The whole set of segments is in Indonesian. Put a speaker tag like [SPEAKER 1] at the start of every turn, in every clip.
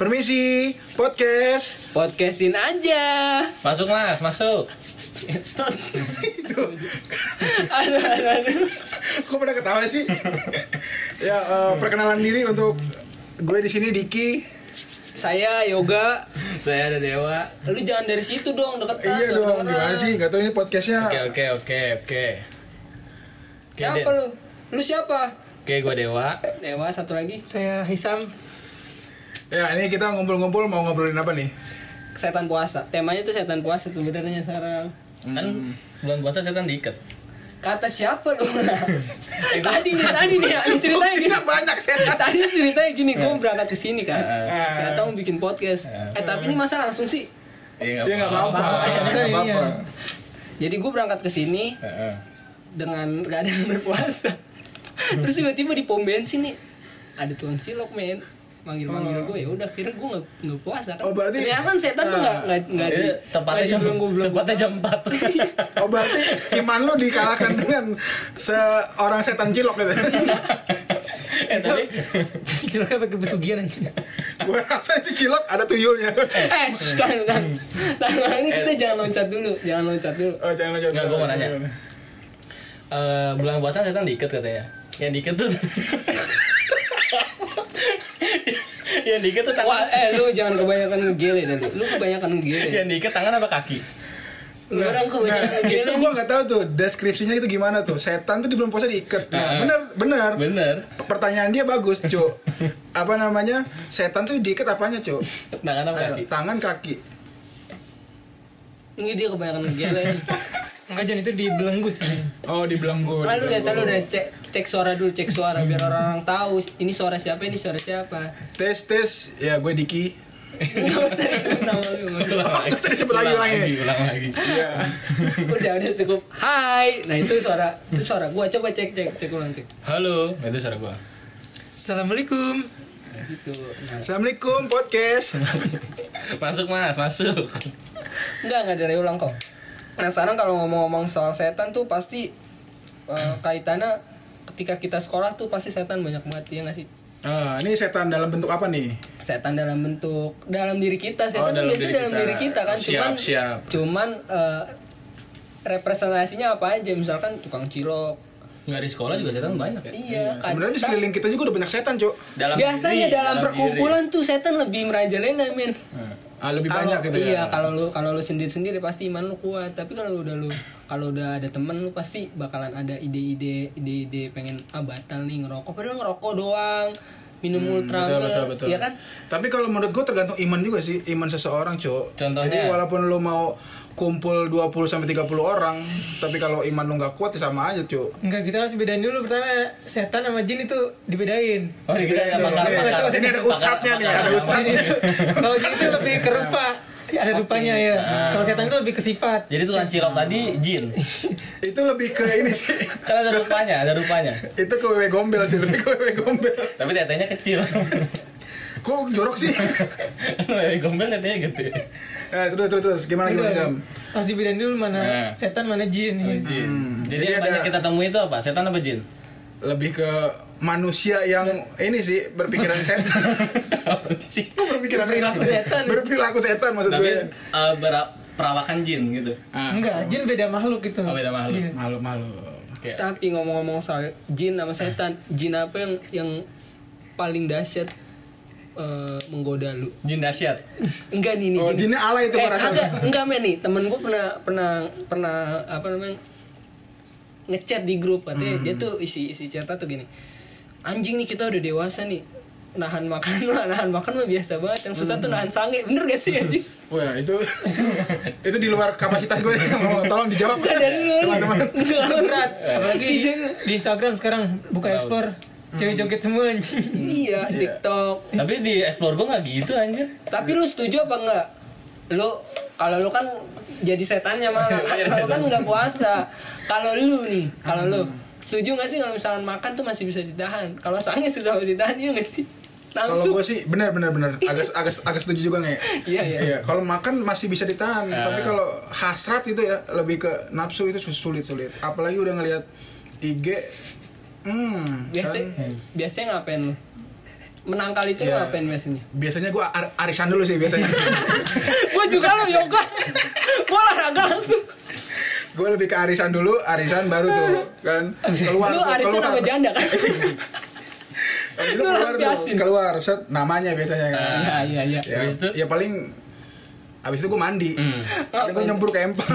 [SPEAKER 1] Permisi, podcast.
[SPEAKER 2] Podcastin aja.
[SPEAKER 3] Masuk mas, masuk.
[SPEAKER 1] Itu.
[SPEAKER 2] Aduh, aduh, aduh.
[SPEAKER 1] Kok pada ketawa sih? ya, eh, perkenalan diri untuk gue di sini Diki.
[SPEAKER 2] Saya Yoga.
[SPEAKER 3] Saya ada Dewa.
[SPEAKER 2] Lu jangan dari situ dong, deketan.
[SPEAKER 1] iya dong, gimana sih? Gak tau ini podcastnya.
[SPEAKER 3] Oke oke oke oke. Oke Den.
[SPEAKER 2] Siapa lu? Lu siapa?
[SPEAKER 3] Oke gue Dewa.
[SPEAKER 2] Dewa satu lagi.
[SPEAKER 4] Saya Hisam.
[SPEAKER 1] Ya, ini kita ngumpul-ngumpul mau ngobrolin apa nih?
[SPEAKER 2] Setan puasa. Temanya tuh setan puasa tuh benernya sekarang.
[SPEAKER 3] Kan bulan puasa setan diikat.
[SPEAKER 2] Kata siapa lu? Eh, tadi nih, tadi nih, ini ceritanya gini.
[SPEAKER 1] Oh, Kita banyak
[SPEAKER 3] Iya,
[SPEAKER 1] setan.
[SPEAKER 2] Tadi ceritanya gini, gue berangkat ke sini kan.
[SPEAKER 1] Heeh.
[SPEAKER 2] Gak tau bikin podcast. Eh tapi ini masa langsung sih.
[SPEAKER 3] Iya
[SPEAKER 1] Ya nggak apa-apa, nggak apa-apa.
[SPEAKER 2] Jadi gue berangkat ke sini
[SPEAKER 3] Heeh.
[SPEAKER 2] dengan keadaan berpuasa terus tiba-tiba di pom bensin nih ada tuang cilok men manggil manggil gue ya udah kira gue nggak nggak puasa kan
[SPEAKER 1] Oh, berarti-
[SPEAKER 2] ternyata kan setan tuh nggak nggak nggak di
[SPEAKER 3] Iya, Tempatnya
[SPEAKER 2] nggak
[SPEAKER 3] jam
[SPEAKER 2] dibilang goblok.
[SPEAKER 3] tempatnya jam 4
[SPEAKER 1] Oh berarti iman lu dikalahkan dengan seorang setan cilok gitu.
[SPEAKER 3] Eh tadi
[SPEAKER 4] Ciloknya pakai pesugihan aja.
[SPEAKER 1] Gue rasa itu cilok ada tuyulnya.
[SPEAKER 2] eh shh, tahan tahan tahan ini kita jangan loncat dulu jangan loncat dulu
[SPEAKER 1] Oh jangan jangan.
[SPEAKER 3] Nggak, gua mau nanya. eh, bulan puasa setan diikat katanya. Yang diikat tuh. Yang diikat tuh
[SPEAKER 2] Wah,
[SPEAKER 3] tangan.
[SPEAKER 2] eh lu jangan kebanyakan ngegele deh lu. Lu kebanyakan ngegele.
[SPEAKER 3] Yang diikat tangan apa kaki?
[SPEAKER 2] Lu orang
[SPEAKER 1] Nah,
[SPEAKER 2] kebanyakan gitu ngegele.
[SPEAKER 1] itu gua nggak tahu tuh deskripsinya itu gimana tuh. Setan tuh di bulan puasa diikat. Nah, bener bener.
[SPEAKER 3] Bener.
[SPEAKER 1] Pertanyaan dia bagus, Cuk. Apa namanya? Setan tuh diikat apanya, Cuk?
[SPEAKER 3] Tangan apa kaki?
[SPEAKER 1] Eh, Tangan kaki.
[SPEAKER 2] Ini dia kebanyakan ngegele.
[SPEAKER 4] Enggak jangan itu dibelenggu sih.
[SPEAKER 1] Oh, dibelenggu.
[SPEAKER 2] Lalu deh,
[SPEAKER 1] dibelenggu.
[SPEAKER 2] lu udah cek cek suara dulu, cek suara biar orang-orang tahu ini suara siapa, ini suara siapa.
[SPEAKER 1] Tes tes ya gue Diki.
[SPEAKER 2] Nggak usah disebut nama lu.
[SPEAKER 3] Ulang lagi.
[SPEAKER 1] Tadi sebut lagi
[SPEAKER 3] Ulang
[SPEAKER 1] ulangnya.
[SPEAKER 3] Ulang lagi.
[SPEAKER 1] Iya.
[SPEAKER 2] udah udah cukup hai nah itu suara itu suara gua coba cek cek cek ulang cek
[SPEAKER 3] Halo, itu suara gua.
[SPEAKER 4] Assalamualaikum.
[SPEAKER 2] gitu nah,
[SPEAKER 1] Assalamualaikum podcast.
[SPEAKER 3] Masuk Mas, masuk.
[SPEAKER 2] enggak enggak dari ulang kok nah sekarang kalau ngomong-ngomong soal setan tuh pasti eh, kaitannya ketika kita sekolah tuh pasti setan banyak banget ya nggak sih
[SPEAKER 1] Ah, ini setan dalam bentuk apa nih?
[SPEAKER 2] setan dalam bentuk dalam diri kita
[SPEAKER 1] Oh,
[SPEAKER 2] setan tuh
[SPEAKER 1] dalam
[SPEAKER 2] biasanya
[SPEAKER 1] diri
[SPEAKER 2] dalam
[SPEAKER 1] kita.
[SPEAKER 2] diri kita kan
[SPEAKER 1] Siap,
[SPEAKER 2] cuman
[SPEAKER 1] siap.
[SPEAKER 2] cuman eh, representasinya apa aja misalkan tukang cilok
[SPEAKER 3] Enggak di sekolah juga setan banyak ya.
[SPEAKER 2] iya kadang-
[SPEAKER 1] Sebenarnya di sekeliling kita juga udah banyak setan, Cuk.
[SPEAKER 3] Dalam
[SPEAKER 2] biasanya
[SPEAKER 3] diri,
[SPEAKER 2] dalam,
[SPEAKER 3] diri.
[SPEAKER 2] perkumpulan tuh setan lebih merajalela men
[SPEAKER 1] Ah, lebih
[SPEAKER 2] Nah, Kalau-
[SPEAKER 1] banyak gitu ya.
[SPEAKER 2] iya kalau lu kalau lu sendiri sendiri pasti iman lu kuat tapi kalau udah lu kalau udah ada temen lu pasti bakalan ada ide-ide ide-ide pengen ah batal nih ngerokok padahal ngerokok doang minum ultra
[SPEAKER 1] Hmm, betul, betul, betul.
[SPEAKER 2] iya kan
[SPEAKER 1] Tapi kalau menurut gue tergantung iman juga sih, iman seseorang, Cuk.
[SPEAKER 3] Contohnya?
[SPEAKER 1] Jadi walaupun lu mau kumpul 20 sampai 30 orang, tapi kalau iman lu nggak kuat ya sama aja, Cuk.
[SPEAKER 4] Enggak kita harus bedain dulu pertama setan sama jin itu dibedain.
[SPEAKER 3] Oh,
[SPEAKER 1] Iya,
[SPEAKER 3] dikira ada pakar,
[SPEAKER 2] Iya,
[SPEAKER 1] Ini-
[SPEAKER 3] pakar.
[SPEAKER 1] ini ada ustadznya nih, ada ustadznya.
[SPEAKER 4] Kalau jin itu lebih ke rupa. Ada rupanya
[SPEAKER 3] Ah.
[SPEAKER 4] ya. Kalau setan itu lebih ke sifat.
[SPEAKER 3] Jadi tukang cilok tadi jin.
[SPEAKER 1] Itu lebih ke ini sih.
[SPEAKER 3] Kan ada rupanya, ada rupanya.
[SPEAKER 1] Itu ke wewe gombel sih, lebih ke wewe gombel.
[SPEAKER 3] Tapi tetenya kecil.
[SPEAKER 1] Kok jorok sih?
[SPEAKER 3] Wewe Gombel tetenya gede.
[SPEAKER 1] Eh, terus terus terus gimana gimana, Sam?
[SPEAKER 4] Gitu. Harus dibedain dulu
[SPEAKER 3] Nah.
[SPEAKER 4] mana setan mana jin.
[SPEAKER 3] Jin.
[SPEAKER 4] gitu.
[SPEAKER 3] Jadi,
[SPEAKER 1] Hmm. Jadi
[SPEAKER 3] yang
[SPEAKER 1] ada-
[SPEAKER 3] banyak kita temui itu apa? Setan apa jin?
[SPEAKER 1] Lebih ke manusia yang ini sih berpikiran setan.
[SPEAKER 3] Apa sih?
[SPEAKER 1] Kok berpikiran perilaku setan? Berperilaku setan maksud
[SPEAKER 3] Tapi
[SPEAKER 1] gue.
[SPEAKER 3] eh, bera- perawakan jin gitu.
[SPEAKER 1] Ah,
[SPEAKER 4] Enggak, jin beda makhluk gitu.
[SPEAKER 3] Oh, beda makhluk. Iya.
[SPEAKER 4] Iya.
[SPEAKER 1] malu malu.
[SPEAKER 3] Kayak
[SPEAKER 2] tapi ngomong-ngomong soal jin sama setan jin apa yang yang paling dahsyat eh, menggoda lu
[SPEAKER 3] jin dahsyat.
[SPEAKER 2] enggak nih nih
[SPEAKER 1] Oh,
[SPEAKER 2] jin-
[SPEAKER 1] jinnya alay itu
[SPEAKER 2] Eh,
[SPEAKER 1] perasaannya.
[SPEAKER 2] kagak, enggak men nih, temen gue pernah pernah pernah apa namanya ngechat di grup katanya
[SPEAKER 1] Hmm.
[SPEAKER 2] dia tuh isi isi cerita tuh gini. Anjing nih kita udah dewasa nih nahan makan mah nahan makan mah biasa banget yang susah
[SPEAKER 1] Hmm.
[SPEAKER 2] tuh nahan sange bener gak sih anjing
[SPEAKER 1] Wah, Oh ya, itu itu di luar kapasitas gue. Mau tolong dijawab.
[SPEAKER 2] Nggak dari lu nih
[SPEAKER 1] Teman-teman.
[SPEAKER 2] Nggak, berat
[SPEAKER 4] Apalagi di,
[SPEAKER 2] Ijin-
[SPEAKER 4] di Instagram sekarang buka explore cewek
[SPEAKER 1] Hmm.
[SPEAKER 4] joget semua anjing.
[SPEAKER 2] iya tiktok
[SPEAKER 3] Tapi di explore gua nggak gitu anjir.
[SPEAKER 2] tapi lu setuju apa enggak lu kalau lu kan jadi setannya malah kalau lu kan nggak puasa kalau lu nih kalau lu setuju nggak sih kalau misalkan makan tuh masih bisa ditahan kalau sange susah bisa ditahan iya nggak sih
[SPEAKER 1] Kalau
[SPEAKER 2] Langsung.
[SPEAKER 1] gue sih benar benar benar agak agak agak setuju juga nih.
[SPEAKER 2] Iya, iya.
[SPEAKER 1] Kalau makan masih bisa ditahan,
[SPEAKER 3] Ah.
[SPEAKER 1] tapi kalau hasrat itu ya lebih ke nafsu itu sus- sulit sulit. Apalagi udah ngelihat IG, hmm,
[SPEAKER 2] Biasa,
[SPEAKER 1] kan.
[SPEAKER 2] biasanya ngapain lu? Menangkal itu lu
[SPEAKER 1] Iya.
[SPEAKER 2] ngapain biasanya?
[SPEAKER 1] Biasanya gue arisan dulu sih biasanya.
[SPEAKER 2] gue juga lo yoga, gue olahraga langsung.
[SPEAKER 1] gue lebih ke arisan dulu, arisan baru tuh kan keluar.
[SPEAKER 2] Lu
[SPEAKER 1] tuh,
[SPEAKER 2] arisan
[SPEAKER 1] keluar.
[SPEAKER 2] sama janda kan?
[SPEAKER 1] Habis itu
[SPEAKER 2] lu
[SPEAKER 1] keluar tuh,
[SPEAKER 2] lampiasin.
[SPEAKER 1] keluar set namanya biasanya kan.
[SPEAKER 2] Iya iya iya.
[SPEAKER 1] ya,
[SPEAKER 3] Nah, Habis itu?
[SPEAKER 1] ya paling abis itu gue mandi,
[SPEAKER 3] Hmm.
[SPEAKER 1] Ada gue nyembur ke empang.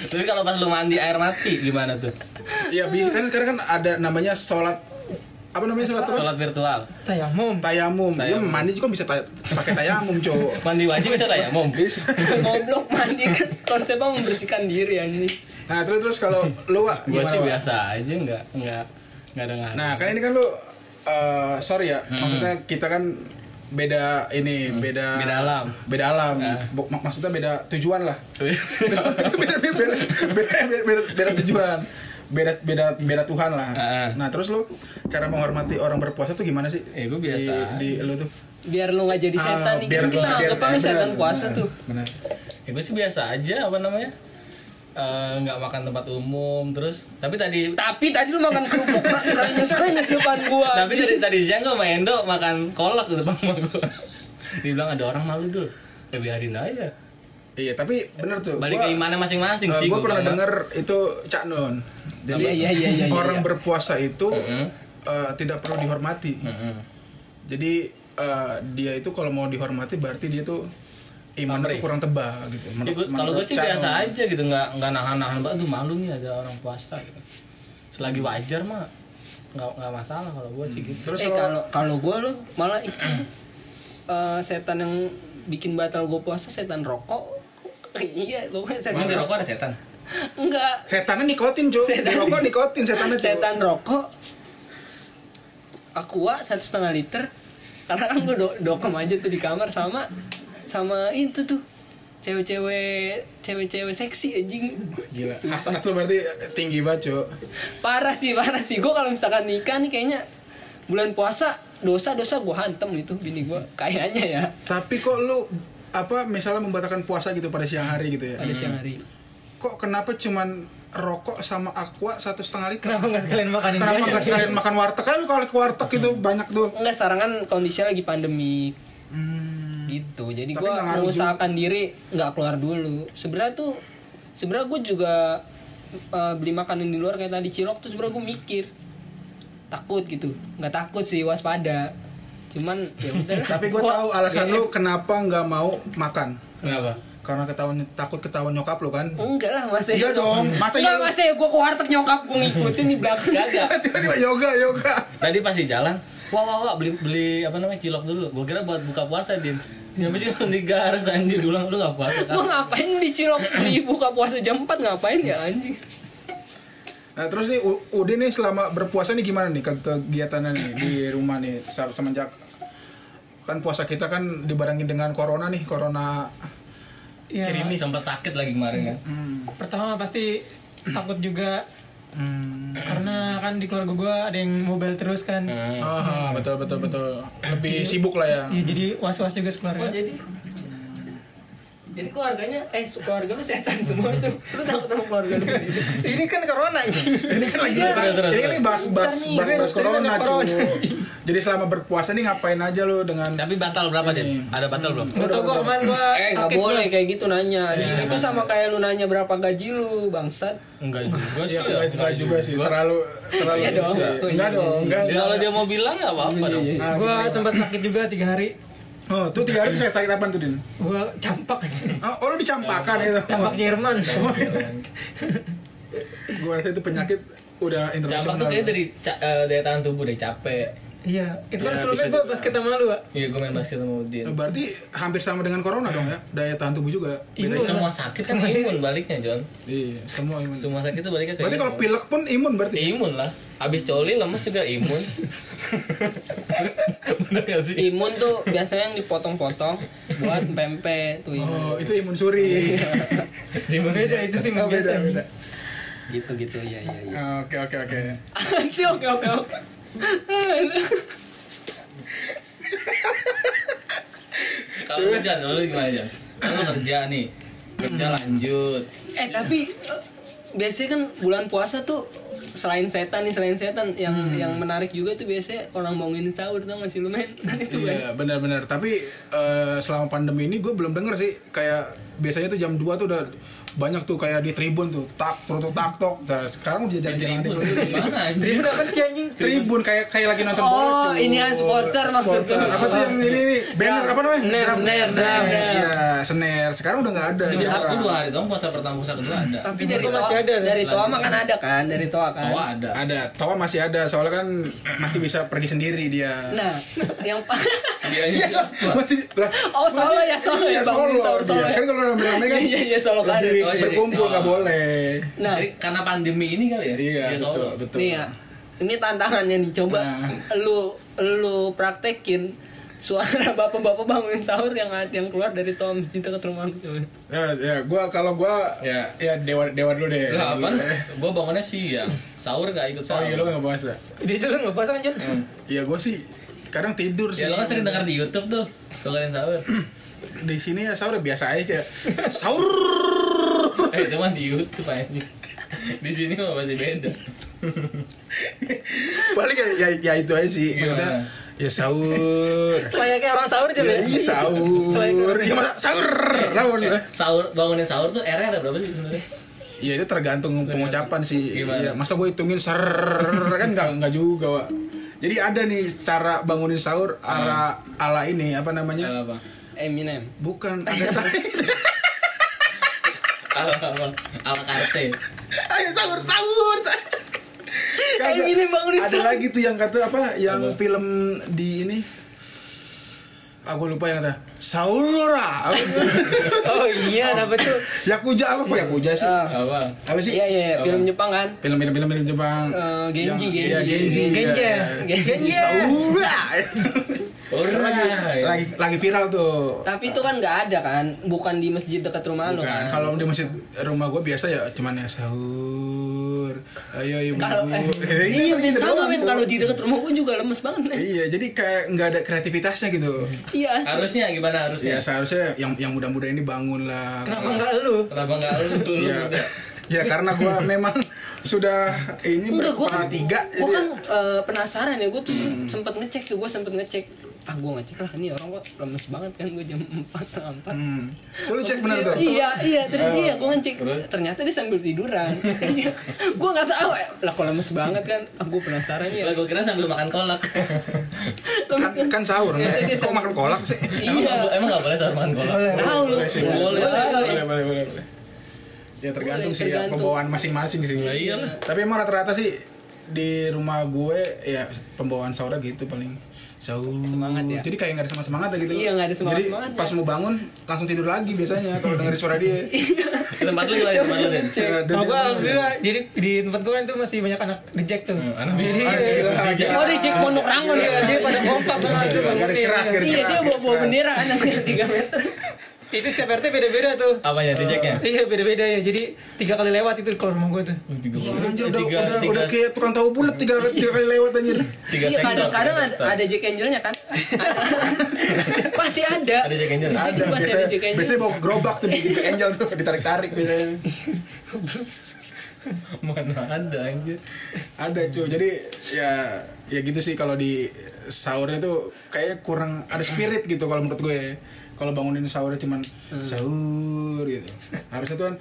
[SPEAKER 3] Tapi kalau pas lu mandi air mati gimana tuh?
[SPEAKER 1] Ya bisa kan sekarang kan ada namanya sholat apa namanya sholat apa?
[SPEAKER 3] Sholat virtual.
[SPEAKER 4] Tayamum.
[SPEAKER 1] Tayamum. Ya
[SPEAKER 3] Tayamum.
[SPEAKER 1] mandi juga bisa tay- pakai tayamum, cowok.
[SPEAKER 3] Mandi wajib bisa tanya, Mom.
[SPEAKER 1] Bisa.
[SPEAKER 2] Goblok mandi kan konsepnya membersihkan diri anjing.
[SPEAKER 1] Nah, terus terus kalau lu Wak,
[SPEAKER 3] Gua
[SPEAKER 1] gimana?
[SPEAKER 3] sih
[SPEAKER 1] Wak?
[SPEAKER 3] biasa aja nggak nggak nggak ada ngaruh.
[SPEAKER 1] Nah, kan ini kan lu eh, sorry
[SPEAKER 3] Hmm.
[SPEAKER 1] ya, maksudnya kita kan beda ini, beda
[SPEAKER 3] Beda alam.
[SPEAKER 1] Beda alam.
[SPEAKER 3] Nah.
[SPEAKER 1] Bu- mak- maksudnya beda tujuan lah. beda, beda, beda, beda, beda, beda tujuan. Beda beda beda Tuhan lah.
[SPEAKER 3] Ah.
[SPEAKER 1] Nah, terus lu cara menghormati orang berpuasa tuh gimana sih?
[SPEAKER 3] Eh, gua biasa.
[SPEAKER 1] Di, di lu tuh.
[SPEAKER 2] Biar lu nggak jadi
[SPEAKER 1] Ah,
[SPEAKER 2] setan nih.
[SPEAKER 1] biar-
[SPEAKER 2] Kan kita
[SPEAKER 1] biar-
[SPEAKER 2] anggap aja
[SPEAKER 1] benar,
[SPEAKER 2] setan
[SPEAKER 1] benar,
[SPEAKER 2] puasa tuh.
[SPEAKER 1] benar.
[SPEAKER 3] ya gue sih biasa aja apa namanya Eh, nggak makan tempat umum terus tapi tadi
[SPEAKER 2] Tapi tadi lu makan kerupuk kali nyesel nyesel depan gua.
[SPEAKER 3] tapi tadi tadi siang gue sama Endo makan kolak di depan rumah gue dibilang ada orang malu dul ya biarin aja
[SPEAKER 1] Iya, tapi bener tuh.
[SPEAKER 3] balik
[SPEAKER 1] Gua-
[SPEAKER 3] ke imannya masing-masing sih
[SPEAKER 1] gue
[SPEAKER 3] gua
[SPEAKER 1] Eh, pernah
[SPEAKER 3] bilang.
[SPEAKER 1] denger itu Cak Nun. Jadi
[SPEAKER 2] Iya, iya, iya, iya, iya,
[SPEAKER 1] orang
[SPEAKER 2] iya.
[SPEAKER 1] berpuasa itu
[SPEAKER 3] Mm-mm.
[SPEAKER 1] eh, tidak perlu dihormati.
[SPEAKER 3] Mm-mm.
[SPEAKER 1] Jadi eh, dia itu kalau mau dihormati berarti dia tuh imannya tuh
[SPEAKER 3] Pamrih.
[SPEAKER 1] kurang tebal gitu.
[SPEAKER 3] Ya, gua- kalau gue sih
[SPEAKER 1] Cak
[SPEAKER 3] biasa
[SPEAKER 1] Nun.
[SPEAKER 3] aja gitu nggak nggak nahan-nahan banget aduh malu nih ada orang puasa gitu selagi wajar mah nggak nggak masalah kalau gue sih gitu
[SPEAKER 1] Terus
[SPEAKER 2] eh
[SPEAKER 1] kalau
[SPEAKER 2] kalau kalau gue lo malah itu eh, setan yang bikin batal gue puasa setan rokok iya pokoknya setan
[SPEAKER 3] Emang di
[SPEAKER 2] rokok
[SPEAKER 3] rokok ada setan
[SPEAKER 2] enggak
[SPEAKER 1] setannya nikotin, cuy.
[SPEAKER 2] Setan-
[SPEAKER 1] Di rokok nikotin setannya, cuy.
[SPEAKER 2] setan rokok aqua satu setengah liter karena kan gue do- dokem aja tuh di kamar sama sama itu tuh cewek-cewek cewek-cewek seksi anjing
[SPEAKER 1] Gila, hasrat lu berarti tinggi banget, cuy.
[SPEAKER 2] parah sih parah sih gue kalau misalkan nikah nih kayaknya bulan puasa dosa dosa gue hantem itu bini gue
[SPEAKER 1] Hmm.
[SPEAKER 2] kayaknya ya
[SPEAKER 1] Tapi kok lu apa misalnya membatalkan puasa gitu pada siang hari gitu ya?
[SPEAKER 2] pada siang hari
[SPEAKER 1] Kok kenapa cuman rokok sama aqua satu setengah liter?
[SPEAKER 4] Kenapa nggak sekalian makanin dia
[SPEAKER 1] Kenapa
[SPEAKER 4] aja?
[SPEAKER 1] nggak sekalian makan warteg kan kalau ke warteg itu banyak tuh.
[SPEAKER 2] Enggak, sekarang kan kondisinya lagi pandemi
[SPEAKER 1] Hmm.
[SPEAKER 2] gitu. Jadi
[SPEAKER 1] Tapi
[SPEAKER 2] gue
[SPEAKER 1] nggak ngaruh
[SPEAKER 2] mengusahakan diri nggak keluar dulu. Sebenarnya tuh sebenarnya gue juga eh, beli makanan di luar kayak tadi cilok tuh sebenarnya gue mikir takut gitu. Nggak takut sih waspada. Cuman ya udah.
[SPEAKER 1] Tapi gue tahu alasan lu kenapa nggak mau makan.
[SPEAKER 3] kenapa
[SPEAKER 1] Karena ketahuan takut ketahuan nyokap lu kan.
[SPEAKER 2] Enggak lah masa
[SPEAKER 1] Iya dong, masa
[SPEAKER 2] Enggak
[SPEAKER 1] iya lu-
[SPEAKER 2] masa ya gue ke warteg nyokap gue ngikutin di belakang
[SPEAKER 3] Nggak ada
[SPEAKER 1] Tiba-tiba yoga yoga.
[SPEAKER 3] Tadi pas di jalan, wah wah wah beli beli apa namanya cilok dulu. Gua kira buat buka puasa din. Nyampe juga digaras anjir Gua bilang lu gak puasa kan?
[SPEAKER 2] Gue ngapain di cilok di buka puasa jam 4 ngapain ya anjing
[SPEAKER 1] Nah terus nih U- Udin nih selama berpuasa nih gimana nih ke- kegiatannya nih di rumah nih se- semenjak kan puasa kita kan dibarengin dengan corona nih corona
[SPEAKER 4] Ya,
[SPEAKER 3] Ini sempat sakit lagi kemarin kan.
[SPEAKER 1] hmm,
[SPEAKER 4] pertama pasti takut juga
[SPEAKER 1] hmm.
[SPEAKER 4] karena kan di keluarga gue ada yang mobile terus kan.
[SPEAKER 1] Ah, betul betul betul lebih sibuk lah ya
[SPEAKER 4] Ya jadi was-was juga
[SPEAKER 2] Oh,
[SPEAKER 4] sekeluarga.
[SPEAKER 2] jadi jadi keluarganya eh keluarga lu setan semua tuh lu takut sama keluarga lu sendiri
[SPEAKER 4] Ini kan corona anjing.
[SPEAKER 1] ini kan lagi
[SPEAKER 3] Iya,
[SPEAKER 1] bahas-
[SPEAKER 3] terus,
[SPEAKER 1] ini
[SPEAKER 3] terus.
[SPEAKER 1] kan bahas bahas
[SPEAKER 4] Bentar nih,
[SPEAKER 1] bahas, bahas
[SPEAKER 4] bentar
[SPEAKER 1] corona
[SPEAKER 4] nih,
[SPEAKER 1] cuy
[SPEAKER 4] corona.
[SPEAKER 1] jadi selama berpuasa nih ngapain aja lu dengan
[SPEAKER 3] Tapi batal berapa din? Ada batal belum?
[SPEAKER 4] Betul gue kemarin gue
[SPEAKER 2] eh nggak
[SPEAKER 4] sakit
[SPEAKER 2] boleh
[SPEAKER 4] gua.
[SPEAKER 2] kayak gitu nanya itu sama kayak lu nanya berapa gaji lu bangsat
[SPEAKER 3] Enggak juga sih.
[SPEAKER 1] ya enggak juga, juga Iya. sih terlalu terlalu
[SPEAKER 2] Iya dong.
[SPEAKER 1] sih. enggak dong enggak
[SPEAKER 3] Ya kalau dia mau bilang nggak apa-apa
[SPEAKER 1] Iya,
[SPEAKER 3] dong.
[SPEAKER 4] Gue sempat sakit juga tiga hari.
[SPEAKER 1] oh tuh tiga hari saya sakit apa tuh din
[SPEAKER 4] Gue campak,
[SPEAKER 1] oh, oh lu dicampakan itu
[SPEAKER 4] campak Jerman.
[SPEAKER 1] gue rasa itu penyakit udah
[SPEAKER 3] Campak
[SPEAKER 1] internasional
[SPEAKER 3] tuh kayak dari ca- eh, daya tahan tubuh deh capek.
[SPEAKER 4] Iya, itu
[SPEAKER 1] Ya,
[SPEAKER 4] kan sebelumnya
[SPEAKER 1] bisa
[SPEAKER 4] gue
[SPEAKER 1] juga.
[SPEAKER 4] basket sama lu, Wak.
[SPEAKER 3] Iya gue main basket sama Udin.
[SPEAKER 1] berarti hampir sama dengan corona dong ya daya tahan tubuh juga
[SPEAKER 4] Imun.
[SPEAKER 1] Beda.
[SPEAKER 3] Semua sakit kan imun baliknya John.
[SPEAKER 1] iya semua imun
[SPEAKER 3] Semua sakit tuh baliknya ke
[SPEAKER 1] berarti kalau
[SPEAKER 3] imun.
[SPEAKER 1] pilek pun imun berarti
[SPEAKER 3] imun lah abis coli lemes juga imun bener gak sih
[SPEAKER 2] imun tuh biasanya yang dipotong-potong buat pempek tuh imun
[SPEAKER 1] oh itu imun suri
[SPEAKER 4] Imun beda itu tim
[SPEAKER 1] oh, beda
[SPEAKER 4] biasa.
[SPEAKER 1] beda
[SPEAKER 2] gitu gitu ya ya ya
[SPEAKER 1] Oh, oke oke oke
[SPEAKER 2] sih oke oke oke
[SPEAKER 3] Kalau lu Jan, lu gimana Jan? Kan lu kerja nih, kerja lanjut.
[SPEAKER 2] eh tapi eh, biasanya kan bulan puasa tuh selain setan nih selain setan yang yang menarik juga tuh biasanya orang bangunin sahur tau gak sih lu men kan itu kan
[SPEAKER 1] Iya benar-benar. Tapi eh, selama pandemi ini gue belum denger sih kayak biasanya tuh jam 2 tuh udah banyak tuh kayak di tribun tuh tak terus tuh tak tok. Nah, sekarang udah jarang-jarang ada
[SPEAKER 3] Tribun,
[SPEAKER 1] yang di-
[SPEAKER 3] gimana anjing?
[SPEAKER 4] Tribun apa kan sih anjing?
[SPEAKER 1] Tribun kayak kayak lagi nonton
[SPEAKER 2] Oh,
[SPEAKER 1] bola, cuy.
[SPEAKER 2] ini yang supporter maksudnya.
[SPEAKER 1] Supporter. Apa tuh yang ini nih? Banner apa namanya?
[SPEAKER 4] Snare,
[SPEAKER 1] Drum.
[SPEAKER 4] snare, drum.
[SPEAKER 1] Iya, snare. Sekarang udah nggak ada.
[SPEAKER 3] Di aku
[SPEAKER 1] jarang.
[SPEAKER 3] dua hari dong, puasa pertama, puasa kedua ada.
[SPEAKER 2] tapi
[SPEAKER 4] Timur
[SPEAKER 2] dari
[SPEAKER 4] kok
[SPEAKER 2] toa
[SPEAKER 4] masih ada,
[SPEAKER 2] dari
[SPEAKER 3] kan?
[SPEAKER 2] toa mah kan ada kan dari toa kan
[SPEAKER 3] Tawa ada.
[SPEAKER 1] Ada, tawa masih ada soalnya kan masih bisa pergi sendiri dia.
[SPEAKER 2] nah yang pa-
[SPEAKER 3] Iya, iya.
[SPEAKER 1] Iya, masih lah,
[SPEAKER 2] oh solo ya solo
[SPEAKER 1] iya,
[SPEAKER 2] ya bangunin
[SPEAKER 1] solo.
[SPEAKER 2] sahur solo
[SPEAKER 1] dia.
[SPEAKER 2] ya.
[SPEAKER 1] Kan kalau rame-rame kan
[SPEAKER 2] Iya, iya, solo kan.
[SPEAKER 1] lebih
[SPEAKER 3] Oh, jadi-
[SPEAKER 1] berkumpul nggak
[SPEAKER 3] oh.
[SPEAKER 1] boleh.
[SPEAKER 2] nah
[SPEAKER 3] Jadi karena pandemi ini
[SPEAKER 1] Iya,
[SPEAKER 3] kali ya? Dia
[SPEAKER 1] betul,
[SPEAKER 3] solo.
[SPEAKER 1] betul.
[SPEAKER 2] Nih ya, ini tantangannya nih coba
[SPEAKER 1] Nah.
[SPEAKER 2] lu lu praktekin suara bapak-bapak bangunin sahur yang yang keluar dari tom cinta ke rumah lu coba.
[SPEAKER 1] Ya, ya, gua kalau gua
[SPEAKER 2] Iya.
[SPEAKER 3] Ya.
[SPEAKER 1] ya dewa dewa dulu deh.
[SPEAKER 3] Lah
[SPEAKER 1] Dulu
[SPEAKER 3] apa?
[SPEAKER 1] deh.
[SPEAKER 3] Gue bangunnya siang, sahur gak ikut
[SPEAKER 1] Iya, Oh
[SPEAKER 3] sahur.
[SPEAKER 1] iya lu nggak puasa?
[SPEAKER 4] Dia juga nggak puasa kan Jon?
[SPEAKER 3] Hmm.
[SPEAKER 1] Iya gua sih kadang tidur sih.
[SPEAKER 3] Ya lo kan sering denger di YouTube tuh, dengerin sahur.
[SPEAKER 1] Di sini ya sahur biasa aja. sahur.
[SPEAKER 3] Eh, itu mah di YouTube aja. Di sini mah masih beda.
[SPEAKER 1] Balik ya, ya, ya itu aja sih. Maksudnya,
[SPEAKER 3] Gimana?
[SPEAKER 1] ya sahur.
[SPEAKER 4] Selayaknya orang sahur aja
[SPEAKER 1] ya,
[SPEAKER 4] ya.
[SPEAKER 1] iya sahur. Ya masa sahur. Sahur.
[SPEAKER 3] Eh, sahur bangunin sahur tuh R-nya ada berapa sih sebenarnya?
[SPEAKER 1] Ya itu tergantung pengucapan sih.
[SPEAKER 3] Gimana?
[SPEAKER 1] Iya, masa gue hitungin ser kan nggak nggak juga, Wak. Jadi ada nih cara bangunin sahur ala Hmm. ala ini apa namanya?
[SPEAKER 3] Salah apa?
[SPEAKER 2] Eminem.
[SPEAKER 1] Bukan ada sahur.
[SPEAKER 3] Salah apa? Ala karte.
[SPEAKER 1] Ayo sahur, sahur.
[SPEAKER 2] Ayo minum bangunin
[SPEAKER 1] Ada
[SPEAKER 2] sahur.
[SPEAKER 1] lagi tuh yang kata apa? Yang film di ini. Aku lupa yang kata. Saurora.
[SPEAKER 4] Oh iya, kenapa tuh?
[SPEAKER 1] Yakuza apa kok Yakuza sih?
[SPEAKER 2] Eh,
[SPEAKER 3] Apa?
[SPEAKER 1] Apa sih?
[SPEAKER 2] Iya iya iya, film Jepang kan.
[SPEAKER 1] Film-film film film Jepang.
[SPEAKER 2] Eh, Genji,
[SPEAKER 1] Yang-
[SPEAKER 2] Genji.
[SPEAKER 1] Iya, Genji.
[SPEAKER 4] Genji.
[SPEAKER 1] iya, iya.
[SPEAKER 2] Genji.
[SPEAKER 1] Saurora.
[SPEAKER 3] Ora.
[SPEAKER 1] lagi,
[SPEAKER 3] iya.
[SPEAKER 1] lagi lagi viral tuh.
[SPEAKER 2] Tapi itu kan nggak ada kan, bukan di masjid dekat rumah lu
[SPEAKER 1] Bukan.
[SPEAKER 2] kan.
[SPEAKER 1] Nah, Kalau di masjid rumah gue biasa ya cuman ya sahur. Ayo ibu.
[SPEAKER 2] Kalau eh,
[SPEAKER 1] Iya,
[SPEAKER 2] iya, men,
[SPEAKER 1] gitu
[SPEAKER 2] sama
[SPEAKER 1] doang
[SPEAKER 2] men
[SPEAKER 1] tuh.
[SPEAKER 2] kalau di dekat rumah gua juga lemes banget. men.
[SPEAKER 1] Iya, jadi kayak nggak ada kreativitasnya gitu.
[SPEAKER 2] Iya. asli.
[SPEAKER 3] Harusnya gimana
[SPEAKER 2] Iya.
[SPEAKER 1] Ya
[SPEAKER 3] harusnya?
[SPEAKER 1] seharusnya yang yang muda-muda ini bangun lah.
[SPEAKER 4] Kenapa nggak lu?
[SPEAKER 3] Kenapa enggak lu dulu?
[SPEAKER 2] Iya.
[SPEAKER 1] Ya, ya karena gua memang sudah ini
[SPEAKER 2] Enggak, gua
[SPEAKER 1] berkepala
[SPEAKER 2] kan,
[SPEAKER 1] tiga. jadi- ya?
[SPEAKER 2] gua
[SPEAKER 1] Hmm.
[SPEAKER 2] kan eh, penasaran ya, gua tuh sempet ngecek ya, gua sempet ngecek. Ah, gua ngecek lah, ini orang kok lemes banget kan, gua jam 4 setengah 4.
[SPEAKER 1] Hmm. Tuh lu cek bener tuh.
[SPEAKER 2] Iya, iya, ternyata
[SPEAKER 1] Oh.
[SPEAKER 2] iya, gua ngecek.
[SPEAKER 3] Terus?
[SPEAKER 2] Ternyata dia sambil tiduran. Iya. gua nggak tahu, eh, lah kok lemes banget kan, aku penasaran ya.
[SPEAKER 3] Lah gue Iya, kira sambil makan kolak.
[SPEAKER 1] Kan, kan sahur
[SPEAKER 2] Iya,
[SPEAKER 1] ya.
[SPEAKER 2] dia
[SPEAKER 1] Kok
[SPEAKER 2] sahur.
[SPEAKER 1] makan kolak sih? Ya,
[SPEAKER 3] Emang
[SPEAKER 2] Iya,
[SPEAKER 3] nggak bo- emang enggak boleh sahur makan kolak.
[SPEAKER 4] Boleh.
[SPEAKER 2] tahu lu.
[SPEAKER 1] Boleh sih,
[SPEAKER 2] Nah,
[SPEAKER 3] boleh. Boleh.
[SPEAKER 1] boleh, boleh, boleh, boleh. Ya tergantung
[SPEAKER 2] Boleh,
[SPEAKER 1] sih ya,
[SPEAKER 2] Iya, tergantung. iya
[SPEAKER 1] pembawaan masing-masing sih.
[SPEAKER 3] Ya iyalah.
[SPEAKER 1] Tapi emang rata-rata sih di rumah gue ya pembawaan sahurnya gitu paling sahur.
[SPEAKER 2] Semangat ya.
[SPEAKER 1] Jadi kayak nggak ada semangat gitu.
[SPEAKER 2] Iya, nggak ada semangat-semangatnya.
[SPEAKER 1] Jadi pas mau bangun langsung tidur lagi biasanya kalau dengerin suara dia.
[SPEAKER 3] Tempat lu gimana tempat lu Den?
[SPEAKER 1] Ya, dan
[SPEAKER 4] Kalau
[SPEAKER 1] dia-
[SPEAKER 4] gua alhamdulillah jadi di tempat gua kan tuh masih banyak anak reject tuh.
[SPEAKER 3] Hmm, anak
[SPEAKER 1] Ah,
[SPEAKER 4] Jadi
[SPEAKER 1] gila,
[SPEAKER 3] Iya.
[SPEAKER 1] gila.
[SPEAKER 2] Oh, reject pondok rangon
[SPEAKER 4] Iya,
[SPEAKER 2] ya.
[SPEAKER 4] dia pada kompak banget tuh
[SPEAKER 1] Garis
[SPEAKER 4] bangunin.
[SPEAKER 1] keras, garis
[SPEAKER 2] Iya, dia
[SPEAKER 1] keras,
[SPEAKER 2] bawa-bawa
[SPEAKER 1] keras.
[SPEAKER 2] bendera anaknya 3 meter.
[SPEAKER 4] iya. Itu setiap RT beda-beda tuh.
[SPEAKER 3] Apanya tijeknya?
[SPEAKER 4] Iya beda-beda ya. Jadi tiga kali lewat itu kalau rumah gua tuh.
[SPEAKER 3] Tiga
[SPEAKER 1] Iya. Anjir, udah,
[SPEAKER 3] Iya. tiga
[SPEAKER 1] udah,
[SPEAKER 3] tiga
[SPEAKER 1] udah kayak tukang tahu bulat tiga, tiga kali lewat anjir.
[SPEAKER 3] tiga
[SPEAKER 2] Iya,
[SPEAKER 3] sektor,
[SPEAKER 2] kadang-kadang
[SPEAKER 3] tiga
[SPEAKER 2] ada,
[SPEAKER 3] sektor.
[SPEAKER 2] ada Jack Angelnya kan. Ada. Pasti ada.
[SPEAKER 3] ada Jack Angel.
[SPEAKER 1] Ada,
[SPEAKER 2] Pasti ada
[SPEAKER 1] biasanya,
[SPEAKER 2] Jack Angel.
[SPEAKER 1] biasanya bawa gerobak tuh bikin Jack Angel tuh ditarik-tarik gitu. biasanya.
[SPEAKER 3] Mana ada anjir.
[SPEAKER 1] Ada cuy, jadi ya ya gitu sih kalau di sahurnya tuh kayak kurang ada spirit gitu kalau menurut gue. Kalau bangunin sahurnya cuman
[SPEAKER 3] Hmm.
[SPEAKER 1] sahur gitu. Harusnya tuh kan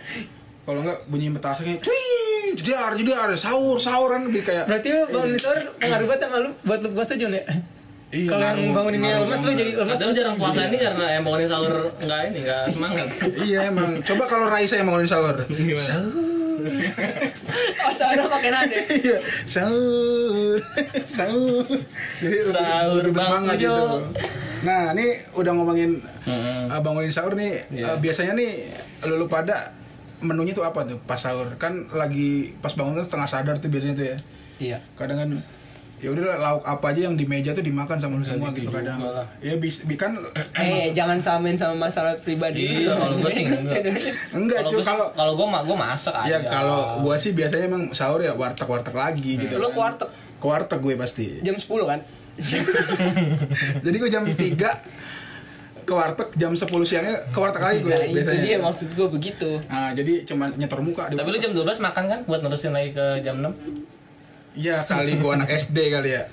[SPEAKER 1] kalau enggak bunyi petasan kayak cuy, jedar, jedar, sahur, sahuran lebih kayak
[SPEAKER 4] Berarti lu bangun sore pengaruh banget sama lu buat lu puasa Jon ya?
[SPEAKER 1] Iya,
[SPEAKER 4] Kalau yang
[SPEAKER 1] ngaruh,
[SPEAKER 4] banguninnya
[SPEAKER 1] ngaruh
[SPEAKER 4] lemas lu
[SPEAKER 1] banget.
[SPEAKER 4] jadi lemas.
[SPEAKER 3] Padahal jarang puasa ini karena emang ini sahur enggak ini enggak semangat.
[SPEAKER 1] Iya emang. Coba kalau Raisa yang bangunin sahur. Sahur.
[SPEAKER 2] Oh, saudara pakai nada.
[SPEAKER 1] Iya, sahur, sahur. Jadi lebih-
[SPEAKER 3] Sahur,
[SPEAKER 1] lebih
[SPEAKER 3] Bang
[SPEAKER 1] bersemangat
[SPEAKER 3] Ujo.
[SPEAKER 1] gitu. Nah, ini udah ngomongin
[SPEAKER 3] Heeh.
[SPEAKER 1] uh, bangunin sahur nih.
[SPEAKER 3] Hmm. Iya.
[SPEAKER 1] Uh, biasanya nih lulu pada menunya tuh apa tuh pas sahur? Kan lagi pas bangun kan setengah sadar tuh biasanya tuh ya.
[SPEAKER 2] Iya.
[SPEAKER 1] Kadang kan ya udah lah, lauk apa aja yang di meja tuh dimakan sama lu semua
[SPEAKER 3] gitu
[SPEAKER 1] gitu kadang.
[SPEAKER 3] juga lah.
[SPEAKER 1] Ya bis, bi- kan
[SPEAKER 2] Eh, jangan samain sama masalah pribadi.
[SPEAKER 3] Iya, kalau gua sih enggak.
[SPEAKER 1] enggak
[SPEAKER 3] Kalau
[SPEAKER 1] cuy
[SPEAKER 3] gua-
[SPEAKER 1] kalau
[SPEAKER 3] kalau gua mah gua masak aja. Hmm.
[SPEAKER 1] ya kalau gua sih biasanya emang sahur ya warteg-warteg lagi gitu.
[SPEAKER 2] Lu
[SPEAKER 1] kan.
[SPEAKER 2] ke warteg.
[SPEAKER 1] ke warteg gue pasti
[SPEAKER 2] Jam 10 kan?
[SPEAKER 1] jadi gue jam 3 ke warteg jam 10 siangnya ke warteg lagi gue
[SPEAKER 2] Nah, itu
[SPEAKER 1] biasanya
[SPEAKER 2] dia maksud gue begitu.
[SPEAKER 1] nah jadi cuma nyetor muka di
[SPEAKER 3] Tapi lu
[SPEAKER 1] warteg.
[SPEAKER 3] jam 12 makan kan buat nerusin lagi ke jam 6?
[SPEAKER 1] ya kali gue anak SD kali ya